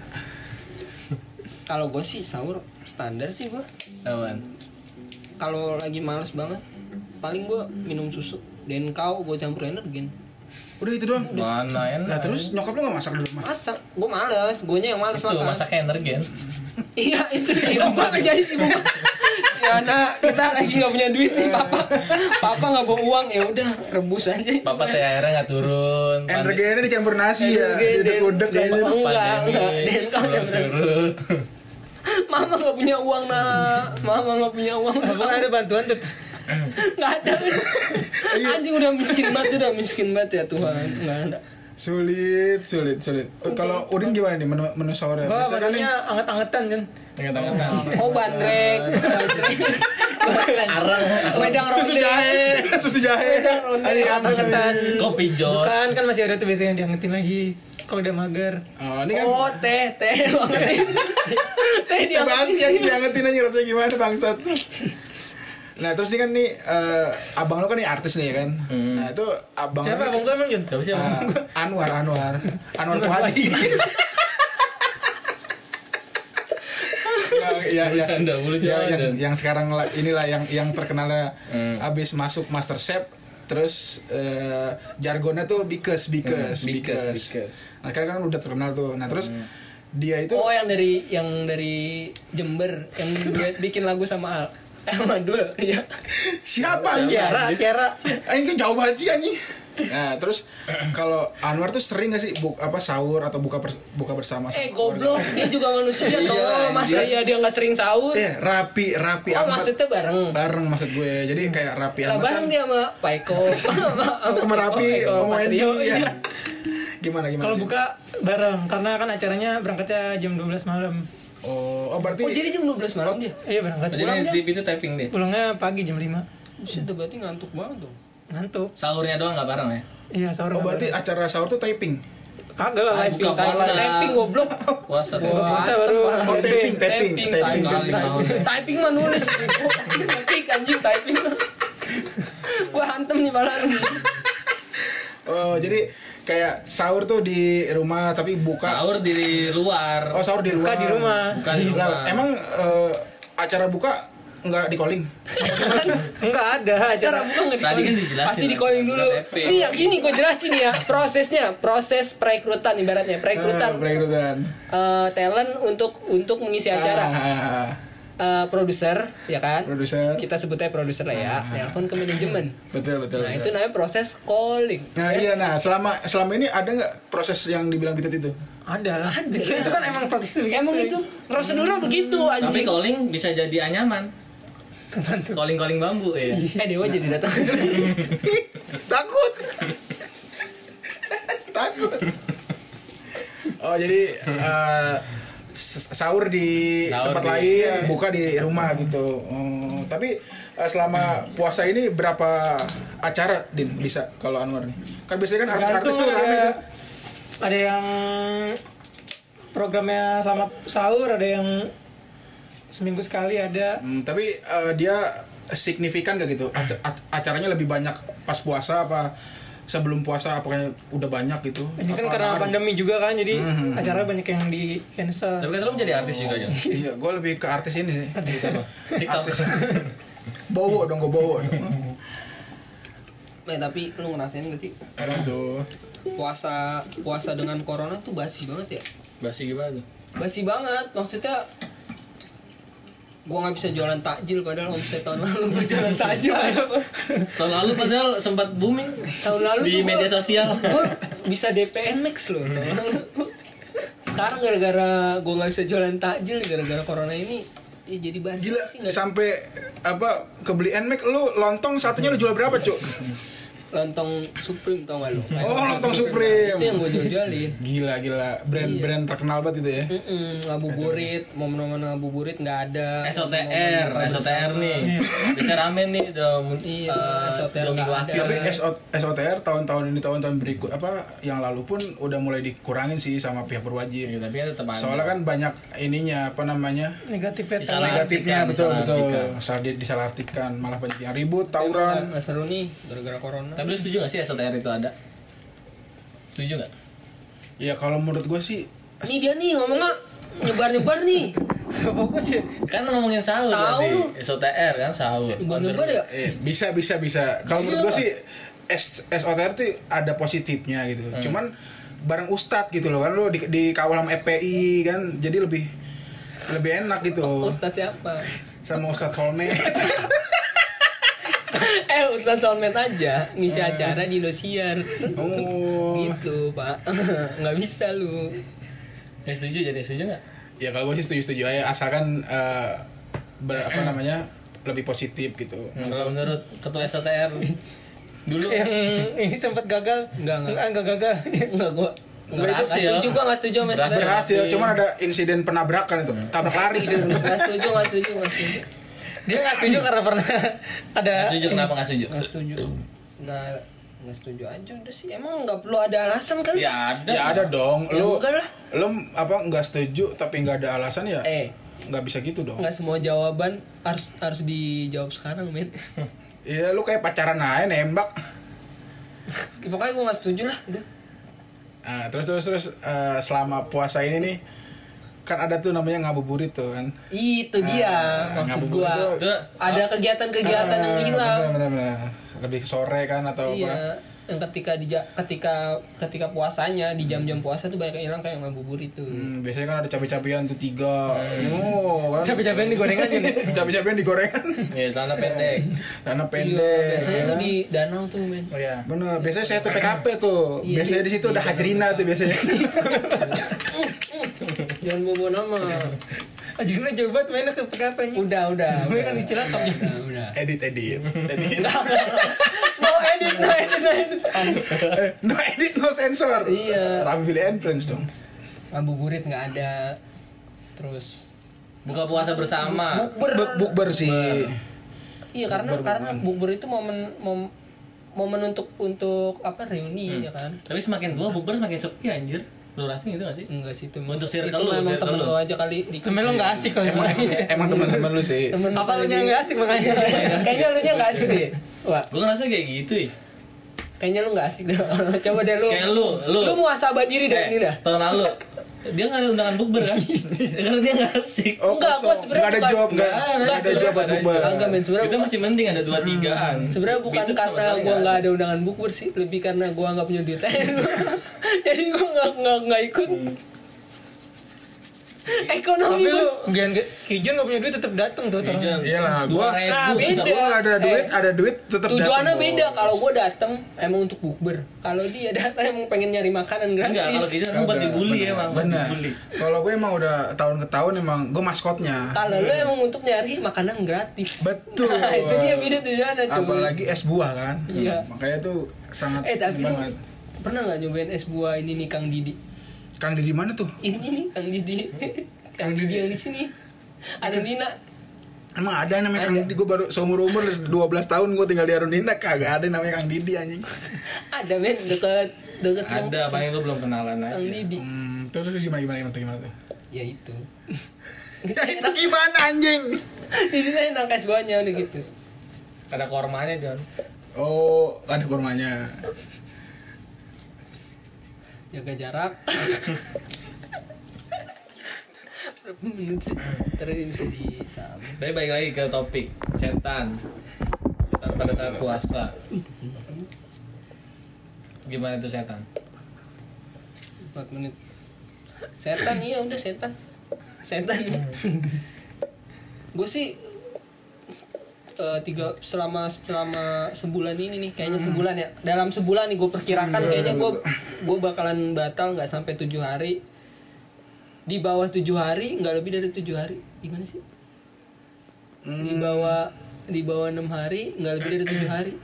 [SPEAKER 2] Kalau gue sih sahur standar sih gue.
[SPEAKER 3] Apaan?
[SPEAKER 2] Kalau lagi males banget, paling gue minum susu dan kau gue campur energen.
[SPEAKER 1] udah itu doang
[SPEAKER 3] Mana enak.
[SPEAKER 1] nah terus nyokap lu gak masak di rumah
[SPEAKER 2] Masak, gue males, gue yang males
[SPEAKER 3] Tuh
[SPEAKER 2] makan.
[SPEAKER 3] masaknya energen.
[SPEAKER 2] Iya itu ibu gua jadi ibu gua. Ya nak kita lagi nggak punya duit nih papa. Papa nggak bawa uang ya udah rebus aja.
[SPEAKER 3] Bapak teh airnya nggak turun.
[SPEAKER 1] energennya dicampur nasi ya
[SPEAKER 2] Energen,
[SPEAKER 1] di kodek
[SPEAKER 2] dan-
[SPEAKER 1] aja
[SPEAKER 2] dan- Enggak,
[SPEAKER 3] Pandemi,
[SPEAKER 2] enggak. Den, kau
[SPEAKER 3] belum
[SPEAKER 2] yang-
[SPEAKER 3] surut.
[SPEAKER 2] Mama nggak punya uang nak. Mama nggak punya uang.
[SPEAKER 4] Abang ada bantuan tuh.
[SPEAKER 2] Nggak ada.
[SPEAKER 1] Iya.
[SPEAKER 2] Anjing udah miskin banget udah miskin banget ya Tuhan. Nggak ada.
[SPEAKER 1] sulit sulit sulit kalau udin gimana nih menu menu sahurnya
[SPEAKER 4] Gua
[SPEAKER 1] Biasanya
[SPEAKER 4] menunya anget-angetan kan.
[SPEAKER 1] Nah,
[SPEAKER 3] Tengah-tengah.
[SPEAKER 2] Oh bandrek. bandrek.
[SPEAKER 3] Arang.
[SPEAKER 2] Wedang
[SPEAKER 1] susu
[SPEAKER 2] ronde.
[SPEAKER 1] jahe susu jahe
[SPEAKER 2] ronde,
[SPEAKER 1] Ini anget nih.
[SPEAKER 4] Angetan.
[SPEAKER 3] Kopi jos.
[SPEAKER 4] Bukan kan masih ada tuh biasanya yang diangetin lagi. Kalau udah mager.
[SPEAKER 1] oh ini kan
[SPEAKER 2] Oh teh teh teh
[SPEAKER 1] Kita
[SPEAKER 2] dia
[SPEAKER 1] bahas ya diangetin aja rasanya gimana bangsat nah terus ini kan nih eh, abang lo kan nih artis nih ya kan
[SPEAKER 3] Hmm.
[SPEAKER 1] nah itu abang lo
[SPEAKER 4] Siapa abang gua emang Jun?
[SPEAKER 3] Gak bisa.
[SPEAKER 1] Eh, Anwar Anwar Anwar Puhadi ya, ya,
[SPEAKER 3] Bercanda mulu,
[SPEAKER 1] ya,
[SPEAKER 3] jangan.
[SPEAKER 1] yang, yang sekarang la- inilah yang yang terkenalnya
[SPEAKER 3] Hmm.
[SPEAKER 1] abis masuk MasterChef terus eh, jargonnya tuh bikes bikes
[SPEAKER 3] Hmm, bikes,
[SPEAKER 1] bikes
[SPEAKER 3] bikes. Hmm.
[SPEAKER 1] nah kan kan udah terkenal tuh nah terus dia itu
[SPEAKER 2] Oh yang dari yang dari Jember yang duet bikin lagu sama Al. Eh, sama Dul, ya.
[SPEAKER 1] siapa aja
[SPEAKER 4] Kiara, Kiara.
[SPEAKER 1] Anjing kan jauh banget sih anjing. Nah, terus kalau Anwar tuh sering gak sih bu- apa sahur atau buka pers- buka bersama sama
[SPEAKER 2] Eh
[SPEAKER 1] keluarga?
[SPEAKER 2] goblok, dia juga manusia tolong masa iya dia nggak sering sahur?
[SPEAKER 1] Eh, rapi rapi
[SPEAKER 2] Oh
[SPEAKER 1] amat.
[SPEAKER 2] maksudnya bareng.
[SPEAKER 1] Bareng maksud gue. Jadi kayak rapi
[SPEAKER 2] Lah
[SPEAKER 1] amat.
[SPEAKER 2] bareng
[SPEAKER 1] kan.
[SPEAKER 2] dia sama Pak Eko, sama
[SPEAKER 1] Sama rapi
[SPEAKER 2] Eko,
[SPEAKER 1] sama
[SPEAKER 2] Pak
[SPEAKER 1] Wendy ya.
[SPEAKER 2] Trio, eh, iya.
[SPEAKER 1] Gimana gimana?
[SPEAKER 4] Kalau
[SPEAKER 1] Din?
[SPEAKER 4] buka bareng karena kan acaranya berangkatnya jam 12 malam.
[SPEAKER 1] Oh, oh berarti
[SPEAKER 2] Oh jadi jam 12 malam dia.
[SPEAKER 4] Iya berangkat.
[SPEAKER 3] Jadi di itu typing deh.
[SPEAKER 4] Pulangnya pagi jam 5.
[SPEAKER 2] Buset, udah berarti ngantuk banget dong.
[SPEAKER 4] Ngantuk.
[SPEAKER 3] Sahurnya doang nggak bareng ya?
[SPEAKER 4] Iya,
[SPEAKER 1] oh
[SPEAKER 4] sahur. nggak
[SPEAKER 1] berarti acara sahur tuh typing.
[SPEAKER 4] bareng. Kagak lah live.
[SPEAKER 3] Buka
[SPEAKER 2] Kayak
[SPEAKER 3] puasa.
[SPEAKER 2] typing goblok.
[SPEAKER 3] Puasa tuh.
[SPEAKER 4] Buka puasa baru.
[SPEAKER 1] Oh, typing, typing, typing.
[SPEAKER 2] Typing,
[SPEAKER 3] typing.
[SPEAKER 1] typing.
[SPEAKER 3] Sahurnya.
[SPEAKER 2] Typing mah nulis. Ketik anjing typing. Gua hantem nih malah.
[SPEAKER 1] Oh, jadi kayak sahur tuh di rumah tapi buka
[SPEAKER 3] Sahur di luar.
[SPEAKER 1] Oh, sahur di
[SPEAKER 4] Buka
[SPEAKER 1] luar.
[SPEAKER 4] di rumah.
[SPEAKER 3] Bukan di
[SPEAKER 1] Lah,
[SPEAKER 3] luar.
[SPEAKER 1] emang eh, acara buka nggak di calling?
[SPEAKER 4] Enggak ada acara.
[SPEAKER 2] Cara buka nggak di
[SPEAKER 3] Tadi
[SPEAKER 2] calling?
[SPEAKER 3] kan dijelasin
[SPEAKER 2] Pasti di
[SPEAKER 3] lah,
[SPEAKER 2] calling
[SPEAKER 3] buka
[SPEAKER 2] dulu.
[SPEAKER 3] TP.
[SPEAKER 2] Nih ya gini gue jelasin ya prosesnya, proses perekrutan ibaratnya
[SPEAKER 1] Ah,
[SPEAKER 2] perekrutan
[SPEAKER 1] Perekrutan.
[SPEAKER 2] eh, talent untuk untuk mengisi acara.
[SPEAKER 1] Ah,
[SPEAKER 2] Eh, produser ya kan?
[SPEAKER 1] Produser.
[SPEAKER 2] Kita sebutnya produser lah ya. Telepon ke manajemen.
[SPEAKER 1] Betul, betul.
[SPEAKER 2] Nah itu
[SPEAKER 1] betul.
[SPEAKER 2] namanya proses calling.
[SPEAKER 1] Nah, iya nah, selama selama ini ada nggak proses yang dibilang bitet itu?
[SPEAKER 4] Ada lah.
[SPEAKER 1] Iya.
[SPEAKER 4] Itu kan emang praktis begitu.
[SPEAKER 2] Emang itu prosedurnya begitu
[SPEAKER 3] Tapi
[SPEAKER 2] anjing.
[SPEAKER 3] calling bisa jadi anyaman. Calling-calling bambu ya.
[SPEAKER 2] Eh Dewa jadi datang.
[SPEAKER 1] Takut. Takut. Oh, jadi eh, s- sahur di
[SPEAKER 3] Sahur
[SPEAKER 1] tempat
[SPEAKER 3] di-
[SPEAKER 1] lain, buka di rumah gitu. Oh, tapi eh, selama puasa ini berapa acara Din bisa kalau Anwar nih? Kan biasanya kan artis-artis
[SPEAKER 4] Tergantung
[SPEAKER 1] tuh
[SPEAKER 4] ada,
[SPEAKER 1] rame tuh.
[SPEAKER 4] ada yang programnya selama sahur, ada yang seminggu sekali ada.
[SPEAKER 1] Hmm, tapi eh, dia signifikan gak gitu? Ac- ac- acaranya lebih banyak pas puasa apa sebelum puasa apa kayak udah banyak gitu?
[SPEAKER 4] Ini kan
[SPEAKER 1] Apa Hmm,
[SPEAKER 4] karena
[SPEAKER 1] ngaruh?
[SPEAKER 4] pandemi juga kan, jadi acara banyak yang di cancel.
[SPEAKER 3] Tapi kan lu menjadi artis juga ya.
[SPEAKER 1] Iya, gue lebih ke artis ini sih.
[SPEAKER 3] TikTok.
[SPEAKER 1] artis. bowo dong, gue bowo dong.
[SPEAKER 2] Eh tapi lu ngerasain gak sih
[SPEAKER 1] Kadang tuh.
[SPEAKER 2] puasa puasa dengan corona tuh basi banget ya?
[SPEAKER 3] Basi gimana?
[SPEAKER 2] Basi banget maksudnya gua nggak bisa jualan takjil padahal omset tahun lalu gua jualan takjil
[SPEAKER 3] Tahun lalu padahal sempat booming
[SPEAKER 2] tahun lalu
[SPEAKER 3] di
[SPEAKER 2] tuh gua-
[SPEAKER 3] media sosial.
[SPEAKER 2] gua bisa DPN Max loh tahun lalu. sekarang gara-gara gua nggak bisa jualan takjil gara-gara corona ini ya jadi basi
[SPEAKER 1] Gila,
[SPEAKER 2] sih nggak
[SPEAKER 1] sampai apa kebeli Nmax lu lontong satunya lu jual berapa, Cuk?
[SPEAKER 2] lontong Supreme tau gak lo?
[SPEAKER 1] Oh, lontong
[SPEAKER 2] Itu yang
[SPEAKER 1] Supreme.
[SPEAKER 2] gue jual-jualin.
[SPEAKER 1] Gila gila,
[SPEAKER 4] Iya.
[SPEAKER 1] brand-brand terkenal banget itu ya.
[SPEAKER 2] Mm-mm, ngabuburit, momen-momen ngabuburit nggak ada.
[SPEAKER 3] SOTR, SOTR nih. Bisa rame nih dong.
[SPEAKER 2] Iya,
[SPEAKER 3] eh,
[SPEAKER 2] SOTR
[SPEAKER 3] dua minggu
[SPEAKER 2] nggak
[SPEAKER 3] akhir.
[SPEAKER 1] Tapi SO SOTR tahun-tahun ini tahun-tahun berikut apa yang lalu pun udah mulai dikurangin sih sama pihak
[SPEAKER 3] Iya,
[SPEAKER 1] berwajib.
[SPEAKER 3] tapi ada teman.
[SPEAKER 1] Soalnya kan banyak ininya apa namanya?
[SPEAKER 4] Negatif ya.
[SPEAKER 3] Salah
[SPEAKER 1] negatifnya
[SPEAKER 3] artikan,
[SPEAKER 1] betul
[SPEAKER 3] salah
[SPEAKER 1] betul.
[SPEAKER 3] artikan.
[SPEAKER 1] Salah di- disalahartikan malah banyak yang ribut, tawuran.
[SPEAKER 2] Nggak seru nih, gara-gara corona.
[SPEAKER 3] Tapi lu setuju gak sih SOTR itu ada? Setuju gak?
[SPEAKER 1] Ya kalau menurut gue sih
[SPEAKER 2] Nih dia nih ngomongnya nyebar-nyebar nih.
[SPEAKER 4] Gak fokus ya.
[SPEAKER 3] Kan ngomongin sahur
[SPEAKER 2] Tahu
[SPEAKER 3] tadi.
[SPEAKER 2] lu.
[SPEAKER 3] SOTR kan sahur. Iya.
[SPEAKER 2] Nyebar-nyebar ya.
[SPEAKER 1] eh, bisa bisa bisa. Kalau menurut gue sih S- SOTR tuh ada positifnya gitu. Cuman bareng ustadz gitu loh kan lo di, dikawal sama FPI kan jadi lebih lebih enak gitu
[SPEAKER 4] Oh.
[SPEAKER 2] Ustadz siapa?
[SPEAKER 1] sama ustadz Solmed
[SPEAKER 2] eh Ustadz Solmed aja ngisi
[SPEAKER 4] Eh.
[SPEAKER 2] acara di Indosiar.
[SPEAKER 1] oh
[SPEAKER 2] gitu pak nggak bisa lu
[SPEAKER 3] Ya, setuju jadi setuju gak?
[SPEAKER 1] ya kalau gue sih setuju setuju aja asalkan eh, ber, apa namanya lebih positif gitu
[SPEAKER 3] Hmm, Kalau menurut ketua SOTR dulu
[SPEAKER 4] Yang Hmm, ini sempat gagal.
[SPEAKER 2] Enggak, enggak.
[SPEAKER 4] Enggak, gagal.
[SPEAKER 2] nggak gua nggak
[SPEAKER 3] Nggak berhasil.
[SPEAKER 2] setuju gua nggak setuju sama
[SPEAKER 3] Berhasil.
[SPEAKER 2] saudara.
[SPEAKER 1] berhasil cuman ada insiden penabrakan itu tabrak lari sih
[SPEAKER 2] Hmm. nggak setuju nggak setuju nggak setuju
[SPEAKER 4] Dia nggak setuju karena pernah ada
[SPEAKER 3] nggak setuju kenapa nggak setuju?
[SPEAKER 2] nggak setuju nggak nggak setuju aja udah sih emang nggak perlu ada alasan kali
[SPEAKER 3] Ya ada.
[SPEAKER 1] ya ada dong
[SPEAKER 2] Ya,
[SPEAKER 1] lu
[SPEAKER 2] enggak lah.
[SPEAKER 1] lu apa nggak setuju tapi nggak ada alasan ya
[SPEAKER 2] eh
[SPEAKER 1] nggak bisa gitu dong
[SPEAKER 2] nggak semua jawaban harus harus dijawab sekarang men
[SPEAKER 1] Iya lu kayak pacaran aja nembak
[SPEAKER 2] pokoknya gua nggak setuju lah udah
[SPEAKER 1] Nah, terus terus terus eh, selama puasa ini nih kan ada tuh namanya ngabuburit tuh kan
[SPEAKER 2] itu dia maksud
[SPEAKER 1] ngabuburit
[SPEAKER 2] gua
[SPEAKER 1] tuh-
[SPEAKER 2] ada kegiatan-kegiatan yang
[SPEAKER 1] Ah,
[SPEAKER 2] hilang
[SPEAKER 1] bener, bener, bener. lebih ke sore kan atau apa
[SPEAKER 2] Iya, yang ketika di ja- ketika ketika puasanya di jam-jam puasa tuh banyak yang hilang kayak ngabuburit tuh.
[SPEAKER 1] Hmm, biasanya kan ada cabai-cabian tuh tiga oh kan
[SPEAKER 4] cabai-cabean digorengan aja nih.
[SPEAKER 1] cabai-cabean digorengan
[SPEAKER 3] Ya celana pendek.
[SPEAKER 1] Dana
[SPEAKER 2] Iya,
[SPEAKER 1] pendek.
[SPEAKER 2] biasanya
[SPEAKER 1] ya.
[SPEAKER 2] tuh di danau tuh men.
[SPEAKER 3] Oh ya.
[SPEAKER 1] Bener, biasanya saya tuh PKP
[SPEAKER 2] Iya,
[SPEAKER 1] tuh. biasanya di situ ada hajrina tuh biasanya.
[SPEAKER 2] Jangan bobo nama.
[SPEAKER 4] Ajirnya jauh banget mainnya ke PKP nya.
[SPEAKER 2] Udah, udah.
[SPEAKER 4] Gue kan
[SPEAKER 2] udah.
[SPEAKER 4] di Cilacap.
[SPEAKER 2] Udah, udah.
[SPEAKER 1] edit, edit, edit.
[SPEAKER 2] Mau edit, mau edit, mau edit.
[SPEAKER 1] no edit, no sensor.
[SPEAKER 2] Iya.
[SPEAKER 1] Tapi Billy and Friends dong.
[SPEAKER 2] Ngabuburit nggak ada. Terus
[SPEAKER 3] Buka puasa bersama.
[SPEAKER 1] Buk bukber sih.
[SPEAKER 2] Iya karena karena bukber itu momen mom- momen untuk untuk apa reuni
[SPEAKER 1] Hmm.
[SPEAKER 2] ya kan?
[SPEAKER 3] Tapi semakin tua bukber semakin sepi anjir. Durasinya gitu gak sih?
[SPEAKER 2] Enggak sih itu.
[SPEAKER 3] Untuk
[SPEAKER 2] itu
[SPEAKER 3] circle lu,
[SPEAKER 2] memang
[SPEAKER 3] circle
[SPEAKER 2] temen
[SPEAKER 3] lu.
[SPEAKER 2] lu aja kali Iya. di
[SPEAKER 4] Sebenernya lo nggak asik kalau
[SPEAKER 1] Emang,
[SPEAKER 4] main.
[SPEAKER 1] emang teman-teman lu sih.
[SPEAKER 2] temen
[SPEAKER 4] Apa lu
[SPEAKER 2] paling-
[SPEAKER 4] nya nggak asik makanya?
[SPEAKER 2] Kayaknya lu nya nggak Iya, asik deh. Wah,
[SPEAKER 3] Gue ngerasa kayak gitu ya.
[SPEAKER 2] kayaknya lu nggak asik dah. Coba deh lu.
[SPEAKER 3] Kayak lu, lu.
[SPEAKER 2] Lu muasabah diri dah
[SPEAKER 3] Eh,
[SPEAKER 2] ini dah.
[SPEAKER 3] Tahun lalu dia nggak ada undangan bukber kan? Karena dia nggak asik.
[SPEAKER 1] Oh,
[SPEAKER 2] Enggak,
[SPEAKER 1] kosong.
[SPEAKER 2] gua sebenarnya
[SPEAKER 1] Nggak ada
[SPEAKER 2] bukan-
[SPEAKER 1] job, enggak
[SPEAKER 3] Nggak ada,
[SPEAKER 1] ada
[SPEAKER 3] sebenarnya
[SPEAKER 1] job buat
[SPEAKER 3] nggak ada
[SPEAKER 1] bukber.
[SPEAKER 3] job.
[SPEAKER 2] Agak men
[SPEAKER 3] Kita
[SPEAKER 2] sebenarnya.
[SPEAKER 3] masih mending ada dua tigaan.
[SPEAKER 2] Sebenarnya bukan
[SPEAKER 3] Bitut sama
[SPEAKER 2] karena
[SPEAKER 3] sekali
[SPEAKER 2] gua
[SPEAKER 3] ya. nggak
[SPEAKER 2] nggak
[SPEAKER 3] ada.
[SPEAKER 2] ada undangan bukber sih, lebih karena gua nggak punya duit aja dulu. Jadi gua nggak nggak nggak ikut.
[SPEAKER 3] Hmm.
[SPEAKER 2] Ekonomi
[SPEAKER 4] Tapi lu
[SPEAKER 2] bos.
[SPEAKER 4] gian Kijon nggak punya duit tetap datang
[SPEAKER 3] Iya,
[SPEAKER 4] tuh. Kijon.
[SPEAKER 3] Jon.
[SPEAKER 1] Iya lah,
[SPEAKER 3] Dua
[SPEAKER 1] gua-
[SPEAKER 3] ribu,
[SPEAKER 2] Nah, beda.
[SPEAKER 1] Gua nggak ada
[SPEAKER 2] Eh.
[SPEAKER 1] duit, ada duit tetap
[SPEAKER 2] Tujuannya
[SPEAKER 1] datang,
[SPEAKER 2] beda.
[SPEAKER 1] Bos.
[SPEAKER 2] Kalau gua datang emang untuk bukber. Kalau dia datang emang pengen nyari makanan gratis.
[SPEAKER 3] Enggak, kalau kita kan buat
[SPEAKER 1] Kagak,
[SPEAKER 3] dibully
[SPEAKER 1] Iya, bener,
[SPEAKER 3] emang, buat
[SPEAKER 1] Bener.
[SPEAKER 3] dibully.
[SPEAKER 1] Kalau gue emang udah tahun ke tahun emang gue maskotnya.
[SPEAKER 2] Kalau lu emang untuk nyari makanan gratis.
[SPEAKER 1] Betul.
[SPEAKER 2] Nah, itu dia beda tujuannya coba.
[SPEAKER 1] Apalagi es buah kan.
[SPEAKER 2] Iya.
[SPEAKER 1] Makanya tuh sangat
[SPEAKER 2] Eh tapi
[SPEAKER 1] ini
[SPEAKER 2] lu
[SPEAKER 1] banget.
[SPEAKER 2] pernah nggak nyobain es buah ini nih Kang Didi?
[SPEAKER 1] Kang Didi mana tuh?
[SPEAKER 2] Ini nih Kang Didi. Kang Didi yang di sini. Ada Nina.
[SPEAKER 1] Emang ada namanya Kang Didi, gue baru seumur umur 12 tahun gue tinggal di Arundina kagak ada namanya Kang Didi anjing.
[SPEAKER 2] Ada men deket deket ruang-
[SPEAKER 3] Ada, paling lu belum kenalan aja.
[SPEAKER 2] Kang Didi.
[SPEAKER 1] Hmm, terus terus gimana gimana gimana tuh gimana tuh?
[SPEAKER 2] Ya itu.
[SPEAKER 1] Ya itu gimana anjing?
[SPEAKER 2] Di sini enak es buahnya udah gitu.
[SPEAKER 3] Ada kormanya Jon.
[SPEAKER 1] Oh, ada kurmanya.
[SPEAKER 2] Jaga jarak. Berapa menit sih? Ntar ini bisa disam.
[SPEAKER 3] Tapi balik lagi ke topik setan. Setan pada saat puasa. Gimana itu setan?
[SPEAKER 2] 4 menit. Setan iya udah setan. Setan. gue sih eh, tiga selama selama sebulan ini nih kayaknya sebulan ya dalam sebulan nih gue perkirakan kayaknya gue gue bakalan batal nggak sampai tujuh hari di bawah tujuh hari nggak lebih dari tujuh hari gimana sih di bawah di bawah enam hari nggak lebih dari tujuh hari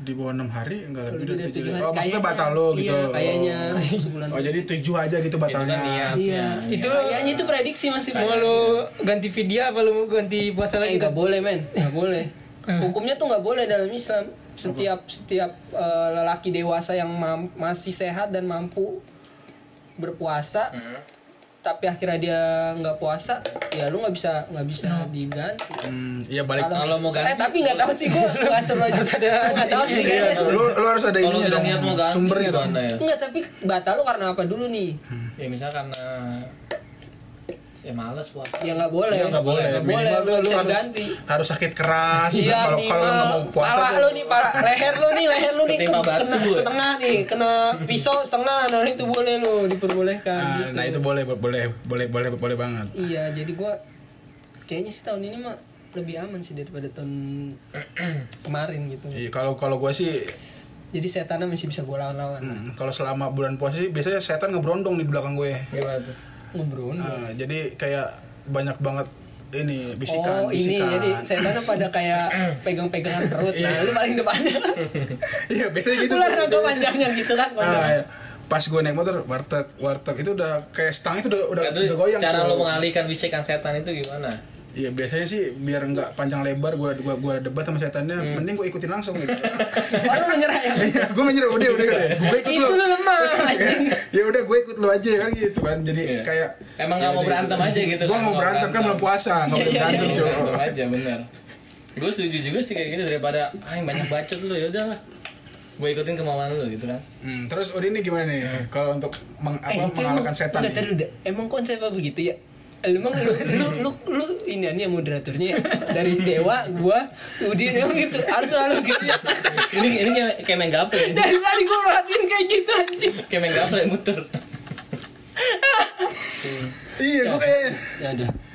[SPEAKER 1] di bawah enam hari nggak lebih,
[SPEAKER 2] Lebih
[SPEAKER 1] dari
[SPEAKER 2] dari
[SPEAKER 1] tujuh
[SPEAKER 2] tujuh
[SPEAKER 1] hari. Oh
[SPEAKER 2] hari.
[SPEAKER 1] maksudnya
[SPEAKER 2] Kayaknya.
[SPEAKER 1] batal lo
[SPEAKER 2] Iya,
[SPEAKER 1] gitu. Oh.
[SPEAKER 2] kayaknya. Sebulan.
[SPEAKER 1] Oh jadi tujuh aja gitu
[SPEAKER 3] kan
[SPEAKER 1] batalnya.
[SPEAKER 3] niat.
[SPEAKER 2] Iya,
[SPEAKER 4] Itu-
[SPEAKER 2] itu kayaknya itu prediksi masih
[SPEAKER 4] Mau lu ganti video apa lu mau ganti puasa
[SPEAKER 2] Eh,
[SPEAKER 4] lagi? Eh.
[SPEAKER 2] nggak boleh men, nggak boleh. Hukumnya tuh nggak boleh dalam Islam. Setiap setiap eh, lelaki dewasa yang mam- masih sehat dan mampu berpuasa,
[SPEAKER 1] Hmm.
[SPEAKER 2] tapi akhirnya dia nggak puasa, ya lu nggak bisa nggak bisa
[SPEAKER 4] Nah.
[SPEAKER 2] diganti.
[SPEAKER 1] Hmm, iya balik.
[SPEAKER 3] Kalau mau
[SPEAKER 2] eh,
[SPEAKER 3] ganti,
[SPEAKER 2] tapi nggak tahu sih gua pastor lagi ada nggak tahu sih
[SPEAKER 1] Iya,
[SPEAKER 2] kayaknya.
[SPEAKER 1] lu lu harus ada
[SPEAKER 3] Kalau
[SPEAKER 1] ininya
[SPEAKER 3] udah
[SPEAKER 1] dong.
[SPEAKER 3] niat mau ganti
[SPEAKER 1] Sumbernya dong.
[SPEAKER 3] gimana ya?
[SPEAKER 2] Nggak, tapi batal lu karena apa dulu nih?
[SPEAKER 3] Ya misalnya karena ya males puasa.
[SPEAKER 2] Ya nggak boleh.
[SPEAKER 1] Iya nggak boleh.
[SPEAKER 2] Nggak boleh.
[SPEAKER 1] Minimal tuh
[SPEAKER 2] nggak
[SPEAKER 1] lu
[SPEAKER 2] bisa
[SPEAKER 1] harus
[SPEAKER 2] diganti.
[SPEAKER 1] harus sakit keras.
[SPEAKER 2] Iya,
[SPEAKER 1] Kalau
[SPEAKER 2] nih,
[SPEAKER 1] kalau lu nggak
[SPEAKER 2] Mal.
[SPEAKER 1] mau puasa
[SPEAKER 2] pala
[SPEAKER 1] tuh-
[SPEAKER 2] lu nih, pala leher lu nih, leher lu nih
[SPEAKER 3] Ketimpa
[SPEAKER 2] kena-
[SPEAKER 3] batu
[SPEAKER 2] kena
[SPEAKER 3] gue.
[SPEAKER 2] setengah nih, kena pisau setengah, nah itu boleh lo diperbolehkan.
[SPEAKER 1] Ah,
[SPEAKER 2] gitu.
[SPEAKER 1] Nah itu boleh boleh boleh boleh boleh banget.
[SPEAKER 2] Iya, jadi gua kayaknya sih tahun ini mah lebih aman sih daripada tahun kemarin gitu.
[SPEAKER 1] Iya, Kalau kalau gue sih
[SPEAKER 2] Jadi setannya masih bisa gua lawan-lawan.
[SPEAKER 1] Hmm, kalau selama bulan puasa sih biasanya setan ngebrondong di belakang gue.
[SPEAKER 3] Gimana tuh?
[SPEAKER 2] Ngobrol.
[SPEAKER 1] Nah, jadi kayak banyak banget ini bisikan,
[SPEAKER 2] Hmm. oh ini
[SPEAKER 1] bisikan.
[SPEAKER 2] jadi setannya pada kayak pegang-pegangan perut. Nah, lu paling depannya.
[SPEAKER 1] Iya, biasanya gitu.
[SPEAKER 2] Ular rangka panjangnya gitu kan.
[SPEAKER 1] Nah, iya. pas gue naik motor warteg warteg itu udah kayak stang itu udah udah,
[SPEAKER 3] Nah, tuh
[SPEAKER 1] udah goyang.
[SPEAKER 3] cara
[SPEAKER 1] cuy.
[SPEAKER 3] lo mengalihkan bisikan setan itu gimana?
[SPEAKER 1] Iya biasanya sih biar nggak panjang lebar gue gua gua debat sama setannya,
[SPEAKER 2] Hmm.
[SPEAKER 1] mending gue ikutin langsung gitu.
[SPEAKER 2] Oh, lu menyerah ya?
[SPEAKER 1] Iya, gue menyerah udah udah udah.
[SPEAKER 3] Iya.
[SPEAKER 1] Gue ikut
[SPEAKER 2] Itu lu lemah. anjing.
[SPEAKER 1] ya udah gue ikut lu aja kan gitu kan. Jadi
[SPEAKER 3] Iya.
[SPEAKER 1] kayak
[SPEAKER 3] Emang nggak mau berantem aja gitu
[SPEAKER 1] Gue
[SPEAKER 3] kan,
[SPEAKER 1] mau
[SPEAKER 3] nggak
[SPEAKER 1] berantem kan
[SPEAKER 3] berantem.
[SPEAKER 1] belum puasa, nggak boleh berantem
[SPEAKER 3] Iya,
[SPEAKER 1] cuy.
[SPEAKER 3] berantem aja bener. Gue setuju juga sih kayak gitu daripada ah yang banyak bacot lo ya udahlah. Gue ikutin kemauan lo gitu kan.
[SPEAKER 1] Hmm, terus Udin ini gimana nih? Kalau untuk meng, apa,
[SPEAKER 2] Eh, itu
[SPEAKER 1] mengalahkan
[SPEAKER 2] emang-
[SPEAKER 1] setan
[SPEAKER 2] enggak,
[SPEAKER 1] nih?
[SPEAKER 2] taruh, dah. emang konsepnya begitu ya? Emang lu, lu, lu, lu ini nih yang moderatornya ya? Dari Dewa, gua, Udin, emang gitu Harus selalu gitu ya
[SPEAKER 3] Ini ini kayak, kayak main gaple, ini.
[SPEAKER 2] Dari tadi gua merhatiin kayak gitu anjing
[SPEAKER 3] kayak main gaple muter.
[SPEAKER 1] Iya, gue kayak
[SPEAKER 2] Ya udah